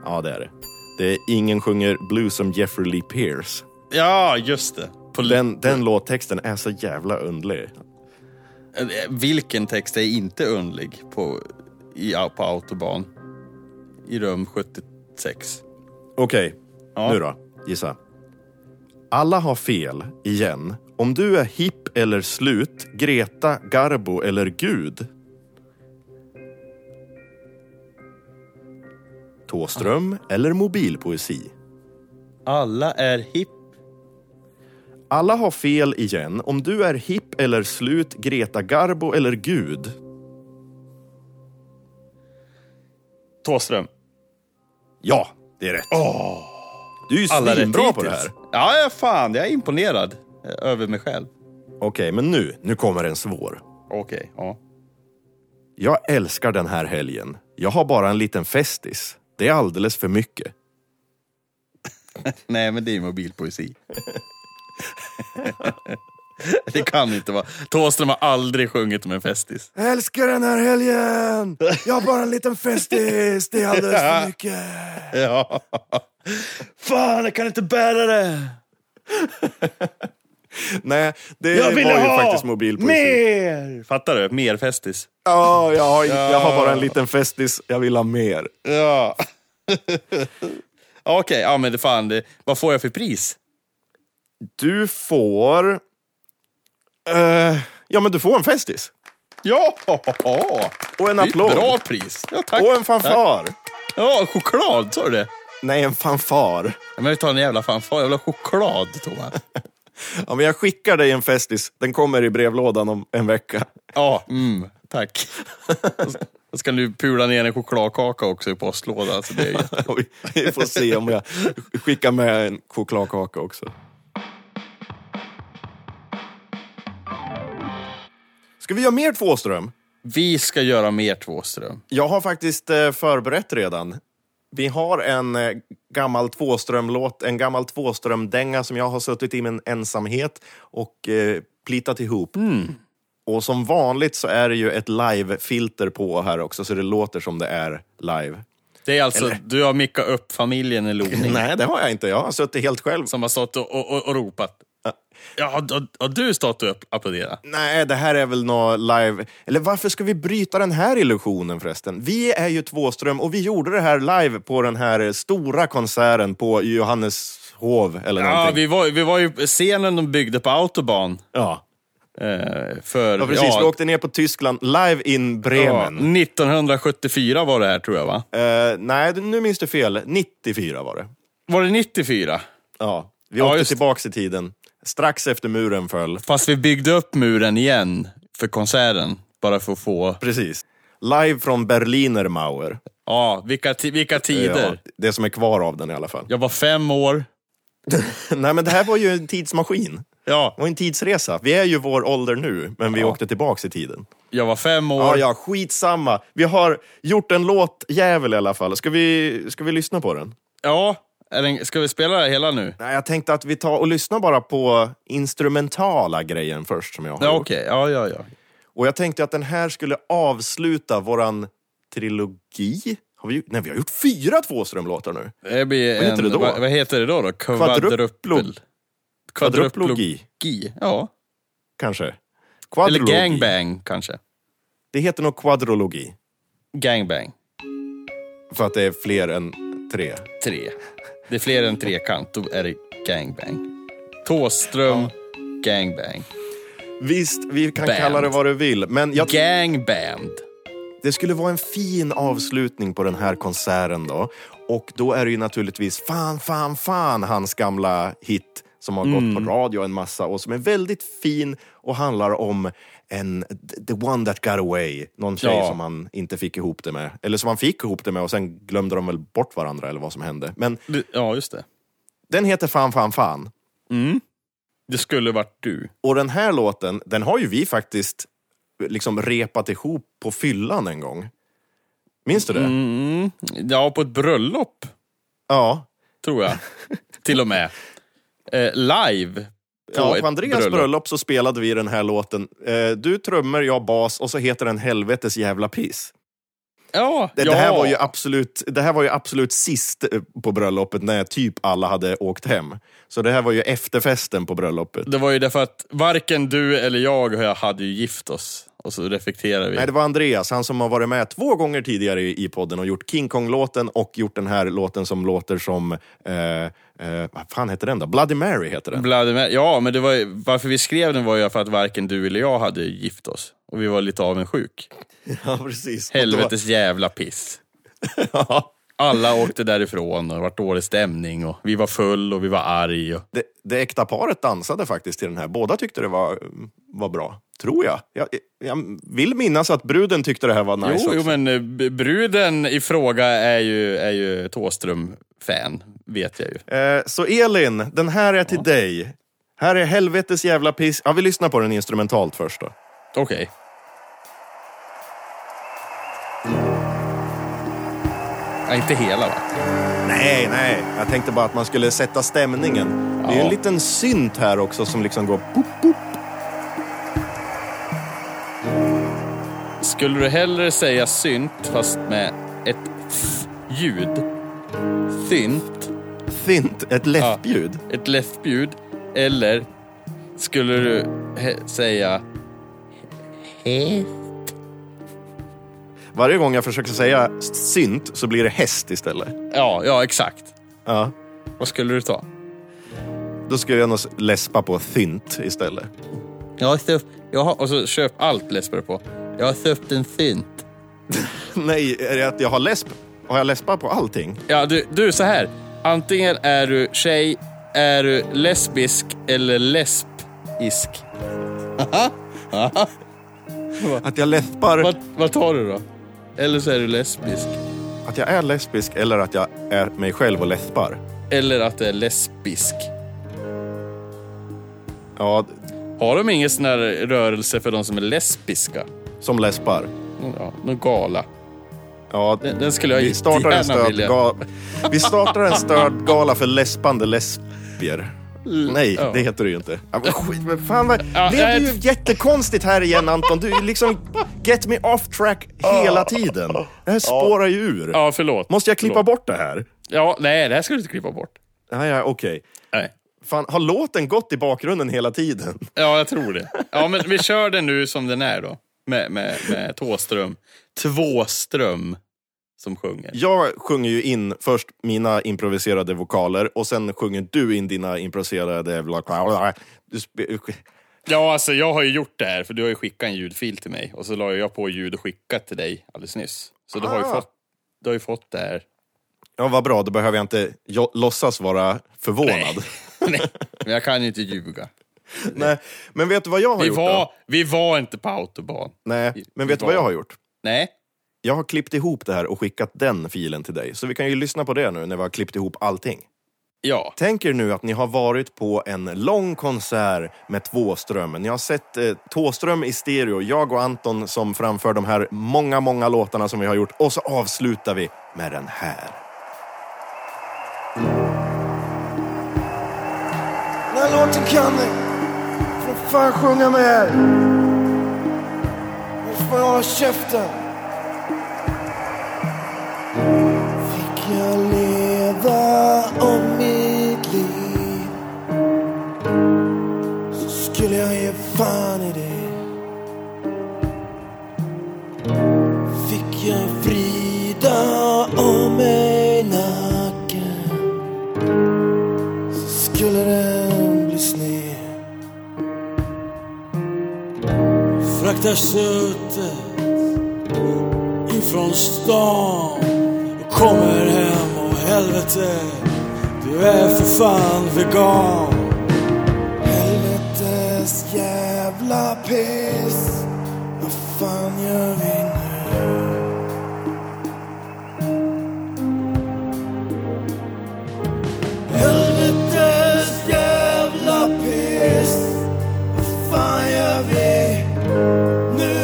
[SPEAKER 1] Ja, det är det. Det är Ingen sjunger blues som Jeffrey Lee Pierce.
[SPEAKER 2] Ja, just det. På
[SPEAKER 1] Den, den låttexten är så jävla underlig.
[SPEAKER 2] Eh, Vilken text är inte underlig på, i, på autobahn? I rum 76.
[SPEAKER 1] Okej,
[SPEAKER 2] Ja.
[SPEAKER 1] nu då. Gissa. Alla har fel, igen. Om du är hipp eller slut, Greta, Garbo eller Gud. Tåström eller mobilpoesi?
[SPEAKER 2] Alla är hipp.
[SPEAKER 1] Alla har fel igen. Om du är hipp eller slut, Greta Garbo eller Gud.
[SPEAKER 2] Thåström.
[SPEAKER 1] Ja, det är rätt. Du är ju
[SPEAKER 2] Alla rätt
[SPEAKER 1] svinbra på det
[SPEAKER 2] hittills.
[SPEAKER 1] här.
[SPEAKER 2] Ja, ja, fan. Jag är imponerad eh, över mig själv.
[SPEAKER 1] Okej, men nu, nu kommer en svår.
[SPEAKER 2] Okej, ja.
[SPEAKER 1] Jag älskar den här helgen. Jag har bara en liten festis. Det är alldeles för mycket.
[SPEAKER 2] Nej, men det är mobilpoesi. (laughs) det kan inte vara. Thåström har aldrig sjungit om en festis.
[SPEAKER 1] Jag älskar den här helgen! Jag har bara en liten festis. Det är alldeles (laughs) för mycket.
[SPEAKER 2] Ja. Fan, jag kan inte bära det!
[SPEAKER 1] Nej, det var ju faktiskt mobilpoesi.
[SPEAKER 2] mer! Fattar du? Mer festis.
[SPEAKER 1] Ja, jag, har, jag har bara en liten festis. Jag vill ha mer.
[SPEAKER 2] Ja. (laughs) Okej, ja men det fan, det, vad får jag för pris?
[SPEAKER 1] Du får... Eh, ja, men du får en festis.
[SPEAKER 2] Ja!
[SPEAKER 1] Och en
[SPEAKER 2] Det är ett
[SPEAKER 1] applåd.
[SPEAKER 2] bra pris. Ja, tack.
[SPEAKER 1] Och en fanfar.
[SPEAKER 2] Ja, choklad, sa du det?
[SPEAKER 1] Nej, en fanfar.
[SPEAKER 2] Ja, men vi tar en jävla fanfar. Jag vill ha choklad, Thomas.
[SPEAKER 1] Ja, men jag skickar dig en festis. Den kommer i brevlådan om en vecka.
[SPEAKER 2] Ja, mm, tack. Jag ska nu pula ner en chokladkaka också i postlådan. Så det är ju...
[SPEAKER 1] (laughs) Och vi- Vi får se om jag skickar med en chokladkaka också. Ska vi göra mer Tvåström?
[SPEAKER 2] Vi ska göra mer Tvåström.
[SPEAKER 1] Jag har faktiskt eh, förberett redan. Vi har en eh, gammal Tvåström-låt, en gammal Tvåström-dänga som jag har suttit i min ensamhet och eh, plitat ihop. Och som vanligt så är det ju ett live-filter på här också, så det låter som det är live.
[SPEAKER 2] Det är alltså, du har mickat upp familjen i Loning
[SPEAKER 1] Nej, det har jag inte. Jag har suttit helt själv.
[SPEAKER 2] som har stått och, och, och, och ropat. Ja, har, har- har du stått och app- applåderat?
[SPEAKER 1] Nej, det här är väl nå live... Eller varför ska vi bryta den här illusionen förresten? Vi är ju Tvåström och vi gjorde det här live på den här stora konserten på Johanneshov eller
[SPEAKER 2] Ja,
[SPEAKER 1] någonting.
[SPEAKER 2] vi var, vi var ju scenen de byggde på Autobahn.
[SPEAKER 1] Ja.
[SPEAKER 2] Eh, för,
[SPEAKER 1] ja, precis. Vi åkte ner på Tyskland, live in
[SPEAKER 2] ja,
[SPEAKER 1] Bremen.
[SPEAKER 2] 1974 var det här tror jag va?
[SPEAKER 1] Eh, nej, nu minns du fel. 94 var det.
[SPEAKER 2] Var det 94?
[SPEAKER 1] Ja, vi
[SPEAKER 2] Ja,
[SPEAKER 1] åkte
[SPEAKER 2] just-
[SPEAKER 1] tillbaks i tiden. Strax efter muren föll.
[SPEAKER 2] Fast vi byggde upp muren igen för konserten. Bara för att få...
[SPEAKER 1] Precis. Live från Berliner Mauer.
[SPEAKER 2] Ja, vilka, ti- vilka tider.
[SPEAKER 1] Ja, det som är kvar av den i alla fall. (laughs)
[SPEAKER 2] Jag var fem år.
[SPEAKER 1] Nej, men det här var ju en tidsmaskin.
[SPEAKER 2] Ja,
[SPEAKER 1] Det var en tidsresa. Vi är ju vår ålder nu, men vi åkte tillbaks i tiden.
[SPEAKER 2] jag var fem
[SPEAKER 1] Ja,
[SPEAKER 2] år.
[SPEAKER 1] ja, skitsamma. Vi har gjort en låt jävel i alla fall. Ska vi, ska vi lyssna på den?
[SPEAKER 2] Ja, är den, ska vi spela det hela nu?
[SPEAKER 1] Nej, jag tänkte att vi tar och lyssnar bara på instrumentala grejen först som jag har
[SPEAKER 2] Ja,
[SPEAKER 1] gjort.
[SPEAKER 2] okej. Ja, ja, ja.
[SPEAKER 1] Och jag tänkte att den här skulle avsluta våran trilogi. Har vi, gjort- nej, vi har gjort fyra Tvåströmlåtar nu.
[SPEAKER 2] Det blir
[SPEAKER 1] Vad heter
[SPEAKER 2] en,
[SPEAKER 1] det då?
[SPEAKER 2] Vad, vad heter det då? då? Kvadrupel.
[SPEAKER 1] Kvadruplo-
[SPEAKER 2] Kvadruplogi.
[SPEAKER 1] Kvadruplogi,
[SPEAKER 2] Ja.
[SPEAKER 1] kanske.
[SPEAKER 2] Eller
[SPEAKER 1] Quadrologi.
[SPEAKER 2] gangbang kanske.
[SPEAKER 1] Det heter nog kvadrologi,
[SPEAKER 2] Gangbang.
[SPEAKER 1] för att det är fler än tre.
[SPEAKER 2] Tre. Det är fler än trekant, då är det gangbang. Tåström, gangbang.
[SPEAKER 1] Visst, vi kan
[SPEAKER 2] Band.
[SPEAKER 1] kalla det vad du vill, men jag
[SPEAKER 2] Gangband.
[SPEAKER 1] Det skulle vara en fin avslutning på den här konserten då. Och då är det ju naturligtvis Fan, fan, fan, hans gamla hit som har
[SPEAKER 2] Mm.
[SPEAKER 1] gått på radio en massa och som är väldigt fin och handlar om en, the one that got away. Någon tjej
[SPEAKER 2] Ja.
[SPEAKER 1] som han inte fick ihop det med. Eller som han fick ihop det med och sen glömde de väl bort varandra eller vad som hände. Men
[SPEAKER 2] Ja, just det.
[SPEAKER 1] den heter Fan, fan, fan.
[SPEAKER 2] Det skulle varit du.
[SPEAKER 1] Och den här låten, den har ju vi faktiskt liksom repat ihop på fyllan en gång. Minns du det?
[SPEAKER 2] Mm, ja, på ett bröllop,
[SPEAKER 1] Ja.
[SPEAKER 2] tror jag. Till och med. Eh, live. På
[SPEAKER 1] Ja,
[SPEAKER 2] ett
[SPEAKER 1] på Andreas bröllop. så spelade vi den här låten. Eh, du trummor, jag bas och så heter den Helvetes jävla piss.
[SPEAKER 2] Ja,
[SPEAKER 1] Det,
[SPEAKER 2] ja.
[SPEAKER 1] det, här var ju absolut, det här var ju absolut sist eh, på bröllopet när typ alla hade åkt hem. Så det här var ju efterfesten på bröllopet.
[SPEAKER 2] Det var ju därför att varken du eller jag hade ju gift oss. Och så reflekterar vi.
[SPEAKER 1] Nej, det var Andreas, han som har varit med två gånger tidigare i i podden och gjort King Kong-låten och gjort den här låten som låter som... Eh, eh, vad fan heter den då? Bloody Mary heter den.
[SPEAKER 2] Bloody Mary. Ja, men det var, ju- varför vi skrev den var ju för att varken du eller jag hade gift oss. Och vi var lite avundsjuk.
[SPEAKER 1] Ja, precis. (laughs) Och det var-
[SPEAKER 2] Helvetes jävla piss.
[SPEAKER 1] Ja.
[SPEAKER 2] Alla åkte därifrån och det var dålig stämning och vi var full och vi var arg. Och...
[SPEAKER 1] det, det äkta paret dansade faktiskt till den här. Båda tyckte det var, var bra, tror jag. jag. Jag vill minnas att bruden tyckte det här var nice
[SPEAKER 2] Jo,
[SPEAKER 1] också.
[SPEAKER 2] jo, men eh, b- bruden i fråga är ju, är ju Thåström-fan, vet jag ju.
[SPEAKER 1] Eh, så Elin, den här är till dig. Här är helvetes jävla piss. Ja, vi lyssnar på den instrumentalt först då.
[SPEAKER 2] Okej. Ja, inte hela va?
[SPEAKER 1] Nej, nej. Jag tänkte bara att man skulle sätta stämningen. Det är ju en liten synt här också som liksom går... Boop, boop.
[SPEAKER 2] Skulle du hellre säga synt fast med ett th- ljud? Synt,
[SPEAKER 1] Thint, ett läppljud.
[SPEAKER 2] ett läspljud. Eller skulle du he- säga...
[SPEAKER 1] Varje gång jag försöker säga synt så blir det häst istället.
[SPEAKER 2] Ja, ja exakt.
[SPEAKER 1] Ja.
[SPEAKER 2] Vad skulle du ta?
[SPEAKER 1] Då skulle jag nog läspa på thint istället.
[SPEAKER 2] Jag har köpt... Jag har, och så köp allt läspar du på. Jag har köpt en synt.
[SPEAKER 1] Nej, är det att jag har läsp? Har jag läspar på allting?
[SPEAKER 2] Ja, du, du så här. Antingen är du tjej, är du lesbisk eller lesbisk.
[SPEAKER 1] Att jag läspar,
[SPEAKER 2] Vad, vad tar du då? Eller så är du lesbisk.
[SPEAKER 1] att jag är lesbisk eller att jag är mig själv och läspar?
[SPEAKER 2] Eller att det är lesbisk.
[SPEAKER 1] Ja,
[SPEAKER 2] Har de ingen sån här rörelse för de som är lesbiska?
[SPEAKER 1] som läspar.
[SPEAKER 2] Ja, någon gala.
[SPEAKER 1] Ja,
[SPEAKER 2] Den, den skulle jag
[SPEAKER 1] vi startar en
[SPEAKER 2] jättegärna vilja.
[SPEAKER 1] stödgala. Vi startar en stödgala för läspande lesbier. Nej,
[SPEAKER 2] ja.
[SPEAKER 1] det heter det ju inte. Ja, men skit, men fan vad...
[SPEAKER 2] Ja,
[SPEAKER 1] Blev det
[SPEAKER 2] jag-
[SPEAKER 1] ju jättekonstigt här
[SPEAKER 2] (laughs)
[SPEAKER 1] igen Anton. Du är liksom get me off track hela tiden. Det här spårar ju ur.
[SPEAKER 2] Ja, förlåt.
[SPEAKER 1] Måste jag klippa
[SPEAKER 2] Förlåt.
[SPEAKER 1] bort det här?
[SPEAKER 2] Ja, nej, det här ska du inte klippa bort.
[SPEAKER 1] Ja, ja, okej.
[SPEAKER 2] Nej.
[SPEAKER 1] Fan, har låten gått i bakgrunden hela tiden?
[SPEAKER 2] Ja, jag tror det. Ja, men vi kör den nu som den är då. Med, med, med Tåström. Tvåström som sjunger.
[SPEAKER 1] Jag sjunger ju in först mina improviserade vokaler och sen sjunger du in dina improviserade vokaler. Du spe-
[SPEAKER 2] Ja, alltså jag har ju gjort det här, för du har ju skickat en ljudfil till mig. Och så la jag på ljud och skickat till dig alldeles nyss. Så du har ju
[SPEAKER 1] Ah.
[SPEAKER 2] fått, du har ju fått det här.
[SPEAKER 1] Ja, vad bra. Då behöver jag inte jo- låtsas vara förvånad.
[SPEAKER 2] Nej, (laughs) men jag kan ju inte ljuga.
[SPEAKER 1] Nej. Men vet du vad jag har
[SPEAKER 2] Vi
[SPEAKER 1] gjort? Då?
[SPEAKER 2] var, vi var inte på autobahn.
[SPEAKER 1] Nej, men
[SPEAKER 2] vi
[SPEAKER 1] vet du vad
[SPEAKER 2] var-
[SPEAKER 1] jag har gjort?
[SPEAKER 2] Nej.
[SPEAKER 1] Jag har klippt ihop det här och skickat den filen till dig. Så vi kan ju lyssna på det nu när vi har klippt ihop allting.
[SPEAKER 2] Ja.
[SPEAKER 1] Tänk er nu att ni har varit på en lång konsert med Tvåström. Ni har sett eh, Tvåström i stereo, jag och Anton som framför de här många, många låtarna som vi har gjort. Och så avslutar vi med den här.
[SPEAKER 3] Den här låten kan ni. Får fan sjunga med här. Nu får jag hålla käften. Fick jag leva om mitt liv så skulle jag ge fan i det. Fick jag vrida om mig nacken skulle den bli sned Fraktar köttet ifrån stan och kommer hem och helvete du är för fan vegan Helvetes jävla piss Vad fan gör vi nu? Helvetes jävla piss Vad fan gör vi nu?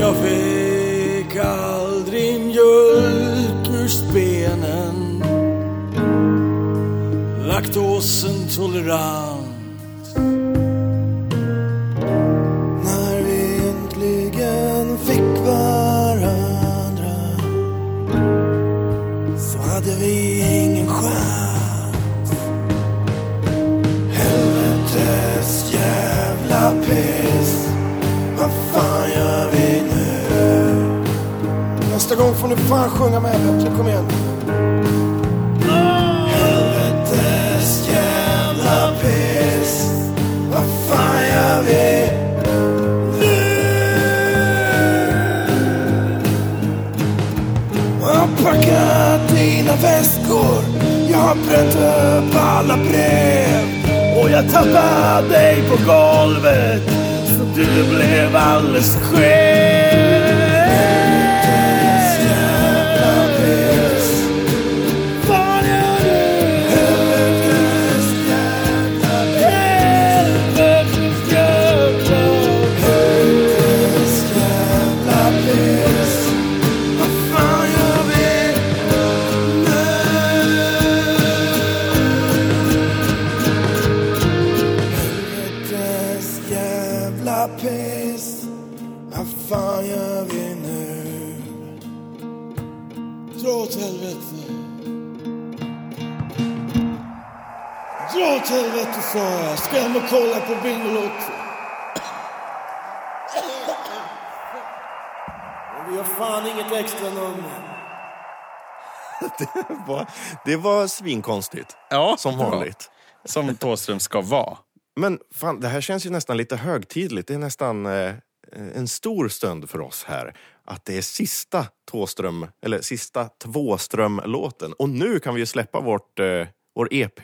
[SPEAKER 3] Jag fick aldrig mjölk ur spenen Laktosintolerant När gång får ni fan sjunga med. Äpple, kom igen. Helvetes jävla piss. Vad fan gör vi nu? Jag har packat dina väskor. Jag har bränt upp alla brev. Och jag tappade dig på golvet. Så du blev alldeles skev. Piss. Vad fan gör vi nu? Dra åt helvete. Dra åt helvete sa jag. Ska hem och kolla på Bingolotto. Men vi har fan inget extra nummer.
[SPEAKER 1] Va? Det var svinkonstigt,
[SPEAKER 2] Ja,
[SPEAKER 1] som
[SPEAKER 2] det var.
[SPEAKER 1] vanligt.
[SPEAKER 2] Som Thåström ska vara.
[SPEAKER 1] Men fan, det här känns ju nästan lite högtidligt. Det är nästan eh, en stor stund för oss här att det är sista Tåström, eller sista Tvåström-låten. Och nu kan vi ju släppa vårt, eh, vår EP.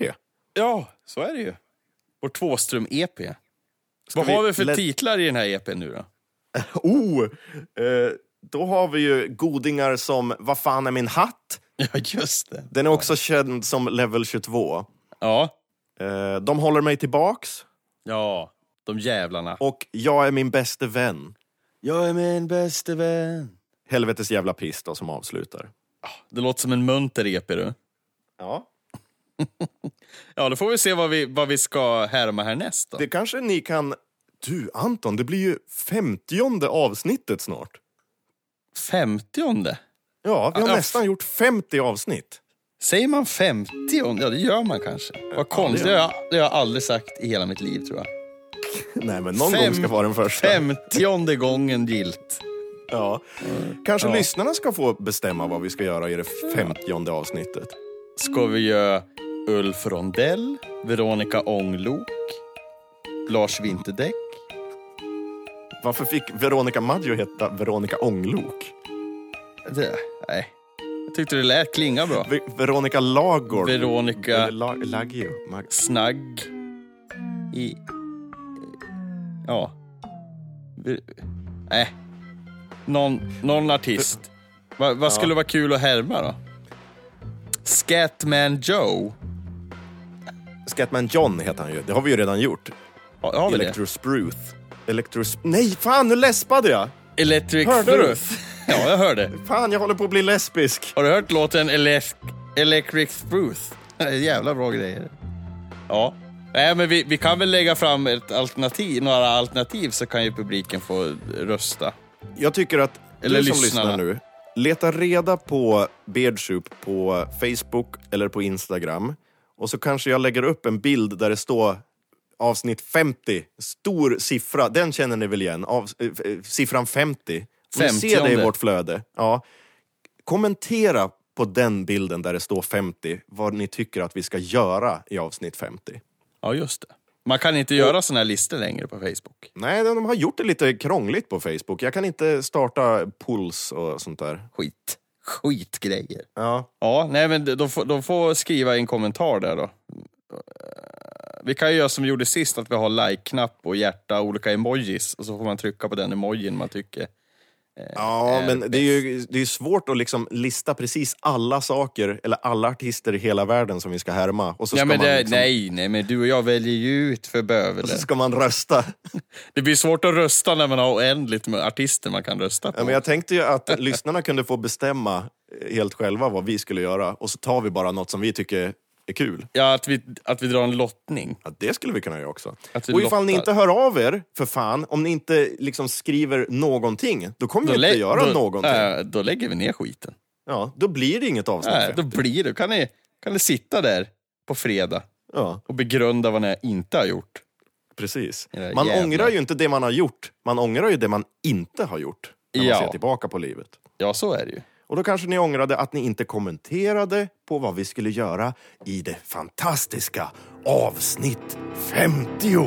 [SPEAKER 2] Ja, så är det ju. Vår Tvåström-EP. Vad
[SPEAKER 1] vi
[SPEAKER 2] har vi för
[SPEAKER 1] lä-
[SPEAKER 2] titlar i den här EPn nu då?
[SPEAKER 1] Oh! Eh, då har vi ju godingar som Vad fan är min hatt?
[SPEAKER 2] (laughs) Ja, just det.
[SPEAKER 1] Den är också känd som Level 22.
[SPEAKER 2] Ja.
[SPEAKER 1] Eh, de håller mig tillbaks
[SPEAKER 2] Ja, de jävlarna.
[SPEAKER 1] och Jag är min bäste vän.
[SPEAKER 2] Jag är min bäste vän.
[SPEAKER 1] Helvetes jävla piss då, som avslutar.
[SPEAKER 2] Det låter som en munter EP du.
[SPEAKER 1] Ja.
[SPEAKER 2] Ja, då får vi se vad vi, vad vi ska härma härnäst då.
[SPEAKER 1] Det kanske ni kan... Du, Anton, det blir ju femtionde avsnittet snart.
[SPEAKER 2] Femtionde?
[SPEAKER 1] Ja, vi har
[SPEAKER 2] Ja,
[SPEAKER 1] nästan gjort 50 avsnitt.
[SPEAKER 2] Säger man femtionde? Ja, det gör man kanske. Vad konstigt.
[SPEAKER 1] det
[SPEAKER 2] Det
[SPEAKER 1] gör
[SPEAKER 2] har jag, det har jag aldrig sagt i hela mitt liv, tror jag.
[SPEAKER 1] Nej, men någon
[SPEAKER 2] Fem-
[SPEAKER 1] gång ska vara den första.
[SPEAKER 2] Femtionde gången gilt.
[SPEAKER 1] Ja. Kanske lyssnarna ska få bestämma vad vi ska göra i det femtionde avsnittet.
[SPEAKER 2] ska vi göra Ulf Rondell, Veronica Ånglok, Lars Winterdäck.
[SPEAKER 1] Varför fick Veronica Maggio heta Veronica Ånglok?
[SPEAKER 2] Det, nej. Jag tyckte det lät klinga bra.
[SPEAKER 1] Ve- Veronica Lagor.
[SPEAKER 2] Veronica
[SPEAKER 1] Eller La- Laggio. Mag-
[SPEAKER 2] Snagg. I... Ja. Ver- Nej. Någon, någon artist. Va- Vad skulle vara kul att härma då? Scatman Joe.
[SPEAKER 1] Scatman John heter han ju. Det har vi ju redan gjort.
[SPEAKER 2] Har, har vi det?
[SPEAKER 1] Electro Spruth. Electro... Sp- Nej, fan, nu läspade jag!
[SPEAKER 2] Electric
[SPEAKER 1] Hörde du?
[SPEAKER 2] Fruth. Ja, jag hörde.
[SPEAKER 1] Fan, jag håller på att bli lesbisk.
[SPEAKER 2] Har du hört låten Elec- Electric Spruth? Jävla bra grejer. Ja. Nej, men vi, vi kan väl lägga fram ett alternativ, några alternativ så kan ju publiken få rösta.
[SPEAKER 1] Jag tycker att
[SPEAKER 2] Eller
[SPEAKER 1] du som
[SPEAKER 2] lyssnarna.
[SPEAKER 1] lyssnar nu, leta reda på Beardsoup på Facebook eller på Instagram. Och så kanske jag lägger upp en bild där det står avsnitt 50, stor siffra, den känner ni väl igen, av, eh, f- eh, siffran 50. Om ni ser det i
[SPEAKER 2] Femtionde.
[SPEAKER 1] vårt flöde, ja. kommentera på den bilden där det står 50 vad ni tycker att vi ska göra i avsnitt 50.
[SPEAKER 2] Ja, just det. Man kan inte göra såna här listor längre på Facebook.
[SPEAKER 1] Nej, de har gjort det lite krångligt på Facebook. Jag kan inte starta puls och sånt där.
[SPEAKER 2] Skit. Skitgrejer.
[SPEAKER 1] Ja,
[SPEAKER 2] Ja, nej men de- de får, de får skriva en kommentar där då. Vi kan ju göra som vi gjorde sist, att vi har like-knapp och hjärta och olika emojis och så får man trycka på den emojin man tycker.
[SPEAKER 1] Ja,
[SPEAKER 2] Eh,
[SPEAKER 1] men det är ju det är ju svårt att liksom lista precis alla saker eller alla artister i hela världen som vi ska härma. Och så ska,
[SPEAKER 2] Ja, men
[SPEAKER 1] man,
[SPEAKER 2] det,
[SPEAKER 1] liksom,
[SPEAKER 2] Nej, nej, men du och jag väljer ju ut för bövelen.
[SPEAKER 1] så ska man rösta.
[SPEAKER 2] Det blir svårt att rösta när man har oändligt med artister man kan rösta på.
[SPEAKER 1] Ja, men jag tänkte ju att lyssnarna kunde få bestämma eh, helt själva vad vi skulle göra och så tar vi bara något som vi tycker är kul.
[SPEAKER 2] Ja, att, vi, att vi drar en lottning.
[SPEAKER 1] Ja, det skulle vi kunna göra också.
[SPEAKER 2] Att vi
[SPEAKER 1] Och ifall ni
[SPEAKER 2] lottar.
[SPEAKER 1] inte hör av er, för fan, om ni inte liksom skriver någonting, då kommer vi inte
[SPEAKER 2] lä-
[SPEAKER 1] göra
[SPEAKER 2] då,
[SPEAKER 1] någonting.
[SPEAKER 2] äh, då lägger vi ner skiten.
[SPEAKER 1] Ja, då blir det inget avsnitt.
[SPEAKER 2] Äh, då blir det. Kan ni, kan ni sitta där på fredag
[SPEAKER 1] ja,
[SPEAKER 2] och begrunda vad ni inte har gjort?
[SPEAKER 1] precis.
[SPEAKER 2] Era
[SPEAKER 1] Man
[SPEAKER 2] jävlar.
[SPEAKER 1] ångrar ju inte det man har gjort, man ångrar ju det man inte har gjort när man
[SPEAKER 2] Ja.
[SPEAKER 1] ser tillbaka på livet.
[SPEAKER 2] Ja, så är det ju.
[SPEAKER 1] Och då kanske ni ångrade att ni inte kommenterade på vad vi skulle göra i det fantastiska avsnitt 50.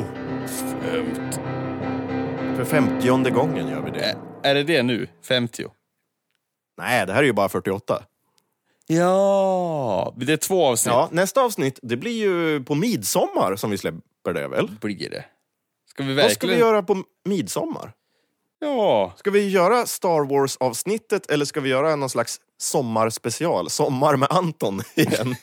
[SPEAKER 1] För femtionde gången gör vi det.
[SPEAKER 2] Ä- Är det det nu? 50?
[SPEAKER 1] Nej, det här är ju bara 48.
[SPEAKER 2] Ja, det är två avsnitt
[SPEAKER 1] Ja, nästa avsnitt, det blir ju på midsommar som vi släpper det väl?
[SPEAKER 2] blir det. Ska vi verkligen...
[SPEAKER 1] Vad ska vi göra på midsommar?
[SPEAKER 2] Ja,
[SPEAKER 1] Ska vi göra Star Wars-avsnittet eller ska vi göra någon slags sommarspecial? Sommar med Anton (laughs) igen.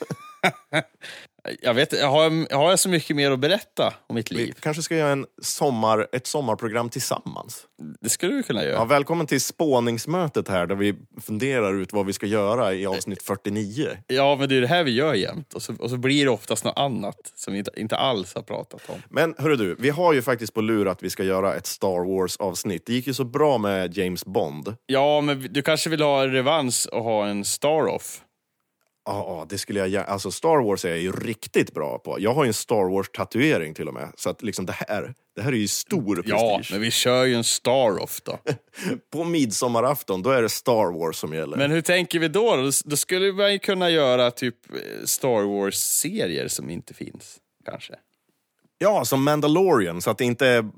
[SPEAKER 2] jag vet jag har, har jag så mycket mer att berätta om mitt
[SPEAKER 1] Vi
[SPEAKER 2] liv?
[SPEAKER 1] kanske ska göra en sommar, ett sommarprogram tillsammans.
[SPEAKER 2] Det skulle du kunna göra.
[SPEAKER 1] Ja, välkommen till spåningsmötet här där vi funderar ut vad vi ska göra i avsnitt 49.
[SPEAKER 2] Ja, men det är det här vi gör jämt. Och så, och så blir det oftast något annat som vi inte, inte alls har pratat om.
[SPEAKER 1] Men hörru du, vi har ju faktiskt på lur att vi ska göra ett Star Wars-avsnitt. Det gick ju så bra med James Bond.
[SPEAKER 2] Ja, men vi- du kanske vill ha revansch och ha en star-off?
[SPEAKER 1] Ja, ja, det skulle jag gärna... Alltså Star Wars är jag ju riktigt bra på. Jag har ju en Star Wars-tatuering till och med. Så att liksom det här, det här är ju stor
[SPEAKER 2] Ja,
[SPEAKER 1] prestige.
[SPEAKER 2] men vi kör ju en star-off då.
[SPEAKER 1] På midsommarafton, då är det Star Wars som gäller.
[SPEAKER 2] Men hur tänker vi då? Då, då skulle man ju kunna göra typ eh, Star Wars-serier som inte finns, kanske.
[SPEAKER 1] Ja, som Mandalorian, så att det inte är...
[SPEAKER 2] Ma-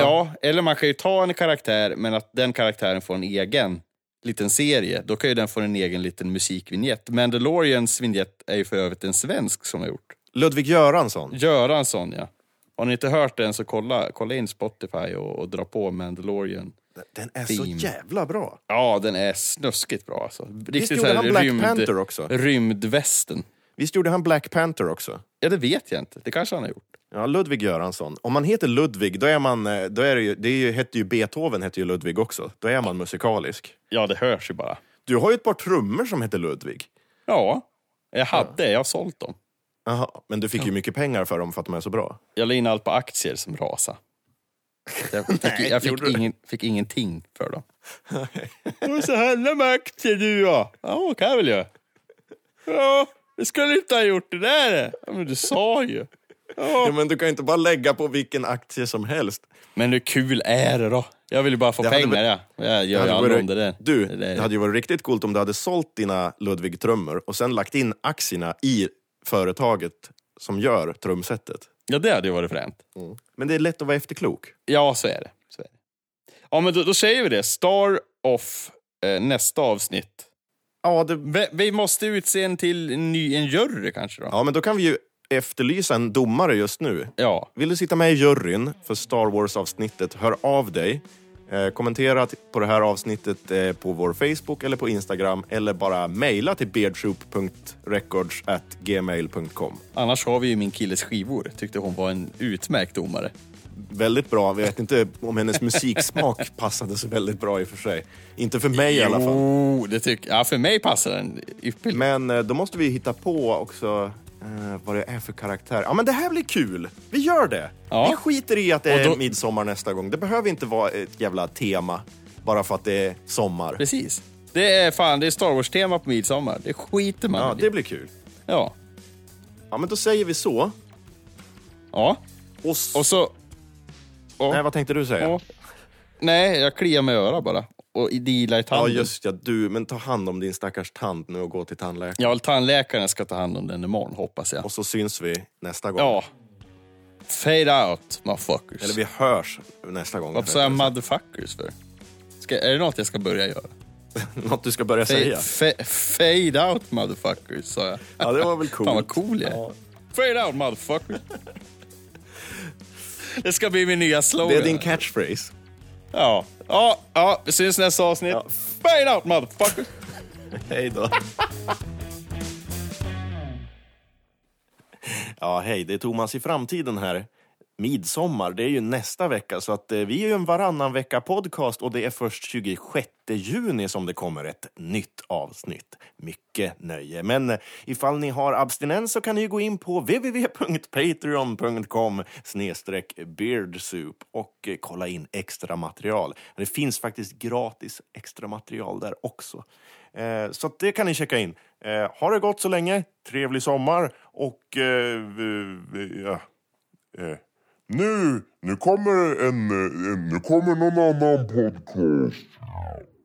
[SPEAKER 2] ja, eller man kan ju ta en karaktär, men att den karaktären får en egen liten serie. Då kan ju den få en egen liten musikvinjett. Mandalorians vignett är ju för övrigt en svensk som har gjort.
[SPEAKER 1] Ludvig
[SPEAKER 2] Mm.
[SPEAKER 1] Göransson.
[SPEAKER 2] Göransson, ja. Har ni inte hört den så kolla, kolla in Spotify och, och dra på Mandalorian.
[SPEAKER 1] Den är så
[SPEAKER 2] Theme.
[SPEAKER 1] jävla bra.
[SPEAKER 2] Ja, den är snuskigt bra alltså. Riktigt
[SPEAKER 1] gjorde
[SPEAKER 2] så
[SPEAKER 1] han Black Panther också?
[SPEAKER 2] Rymdvästen.
[SPEAKER 1] Visst gjorde han Black Panther också?
[SPEAKER 2] Ja, det vet jag inte. Det kanske han har gjort.
[SPEAKER 1] Ja, Ludvig Göransson. Om man heter Ludvig, då är man... eh, Då är det, ju, det är ju, hette ju Beethoven hette ju Ludvig också. Då är man musikalisk.
[SPEAKER 2] Ja, det hörs ju bara.
[SPEAKER 1] Du har ju ett par trummor som heter Ludvig.
[SPEAKER 2] Ja, jag hade. Jag har sålt dem.
[SPEAKER 1] Jaha, men du fick ju mycket pengar för dem för att de är så bra.
[SPEAKER 2] Jag la in allt på aktier som rasade.
[SPEAKER 1] (laughs)
[SPEAKER 2] Jag fick, jag fick,
[SPEAKER 1] gjorde du?
[SPEAKER 2] ingen, fick ingenting för dem. Det var så handla med aktier du ja. Ja, kan jag väl göra. Ja, det skulle du inte ha gjort det där. Ja, men du sa ju.
[SPEAKER 1] Ja, men du kan ju inte bara lägga på vilken aktie som helst.
[SPEAKER 2] Men hur kul är det då? Jag vill ju bara få
[SPEAKER 1] Det hade
[SPEAKER 2] pengar. ja. Jag gör ju aldrig om det där.
[SPEAKER 1] du,
[SPEAKER 2] det där.
[SPEAKER 1] det hade ju varit riktigt coolt om du hade sålt dina Ludvig-trummor och sen lagt in aktierna i företaget som gör trumsetet.
[SPEAKER 2] Ja, det hade ju varit fränt.
[SPEAKER 1] Men det är lätt att vara efterklok.
[SPEAKER 2] Ja, så är det. Så är det. Ja, men då, då säger vi det. Star off eh, nästa avsnitt.
[SPEAKER 1] Ja, det...
[SPEAKER 2] Vi, vi måste utse en till en ny, en jury kanske då?
[SPEAKER 1] ja, men då kan vi ju efterlysa en domare just nu.
[SPEAKER 2] Ja.
[SPEAKER 1] Vill du sitta med i juryn för Star Wars-avsnittet, hör av dig. Eh, kommentera t- på det här avsnittet eh, på vår Facebook eller på Instagram eller bara mejla till beardsoup.records.gmail.com.
[SPEAKER 2] Annars har vi ju min killes skivor. Tyckte hon var en utmärkt domare.
[SPEAKER 1] Väldigt bra. Vi vet inte om hennes
[SPEAKER 2] (laughs)
[SPEAKER 1] musiksmak passade så väldigt bra i och för sig. Inte för mig i alla fall.
[SPEAKER 2] Jo, det tycker Ja, för mig passar den ypperligt.
[SPEAKER 1] Men eh, då måste vi hitta på också eh, vad det är för karaktär. Ja, men det här blir kul. Vi gör det.
[SPEAKER 2] Ja.
[SPEAKER 1] Vi skiter i att det är
[SPEAKER 2] Och då-
[SPEAKER 1] midsommar nästa gång. Det behöver inte vara ett jävla tema bara för att det är sommar.
[SPEAKER 2] Precis. Det är fan, det är Star Wars-tema på midsommar. Det skiter man
[SPEAKER 1] Ja,
[SPEAKER 2] i.
[SPEAKER 1] det blir kul.
[SPEAKER 2] Ja.
[SPEAKER 1] Ja, men då säger vi så.
[SPEAKER 2] ja.
[SPEAKER 1] Och s-
[SPEAKER 2] Och så...
[SPEAKER 1] Nej, vad tänkte du säga?
[SPEAKER 2] Ja. Nej, jag kliar mig i örat bara. Och dealar i
[SPEAKER 1] Ja,
[SPEAKER 2] tanden.
[SPEAKER 1] just ja. Du, men ta hand om din stackars tand nu och gå till tandläkaren.
[SPEAKER 2] Ja, tandläkaren ska ta hand om den imorgon, hoppas jag.
[SPEAKER 1] Och så syns vi nästa gång.
[SPEAKER 2] Ja. Fade out, motherfuckers.
[SPEAKER 1] Eller vi hörs nästa gång.
[SPEAKER 2] Varför sa jag motherfuckers för? Ska, är det något jag ska börja göra?
[SPEAKER 1] Något du ska börja säga.
[SPEAKER 2] Fade, fa- fade out, motherfuckers, sa jag.
[SPEAKER 1] Ja, det var väl coolt.
[SPEAKER 2] Fan vad cool jag är. Fade out, motherfuckers. Det ska bli min nya slogan.
[SPEAKER 1] Det är din catchphrase.
[SPEAKER 2] Ja. Ja, ja, vi syns nästa avsnitt.
[SPEAKER 1] Ja.
[SPEAKER 2] Fade out, motherfuckers.
[SPEAKER 1] (laughs) Hej då. ja, hej. Det är Thomas i framtiden här. Midsommar, det är ju nästa vecka, så att eh, vi är ju en varannan vecka podcast och det är först 26 juni som det kommer ett nytt avsnitt. Mycket nöje. Men eh, ifall ni har abstinens så kan ni ju gå in på www.patreon.com snedstreck beardsoup och eh, kolla in extra material. Det finns faktiskt gratis extra material där också. Eh, Så att det kan ni checka in. Eh, Ha det gott så länge, trevlig sommar och... eh, v- v- ja. eh.
[SPEAKER 4] Nu, nu kommer en, en, nu kommer någon annan podcast.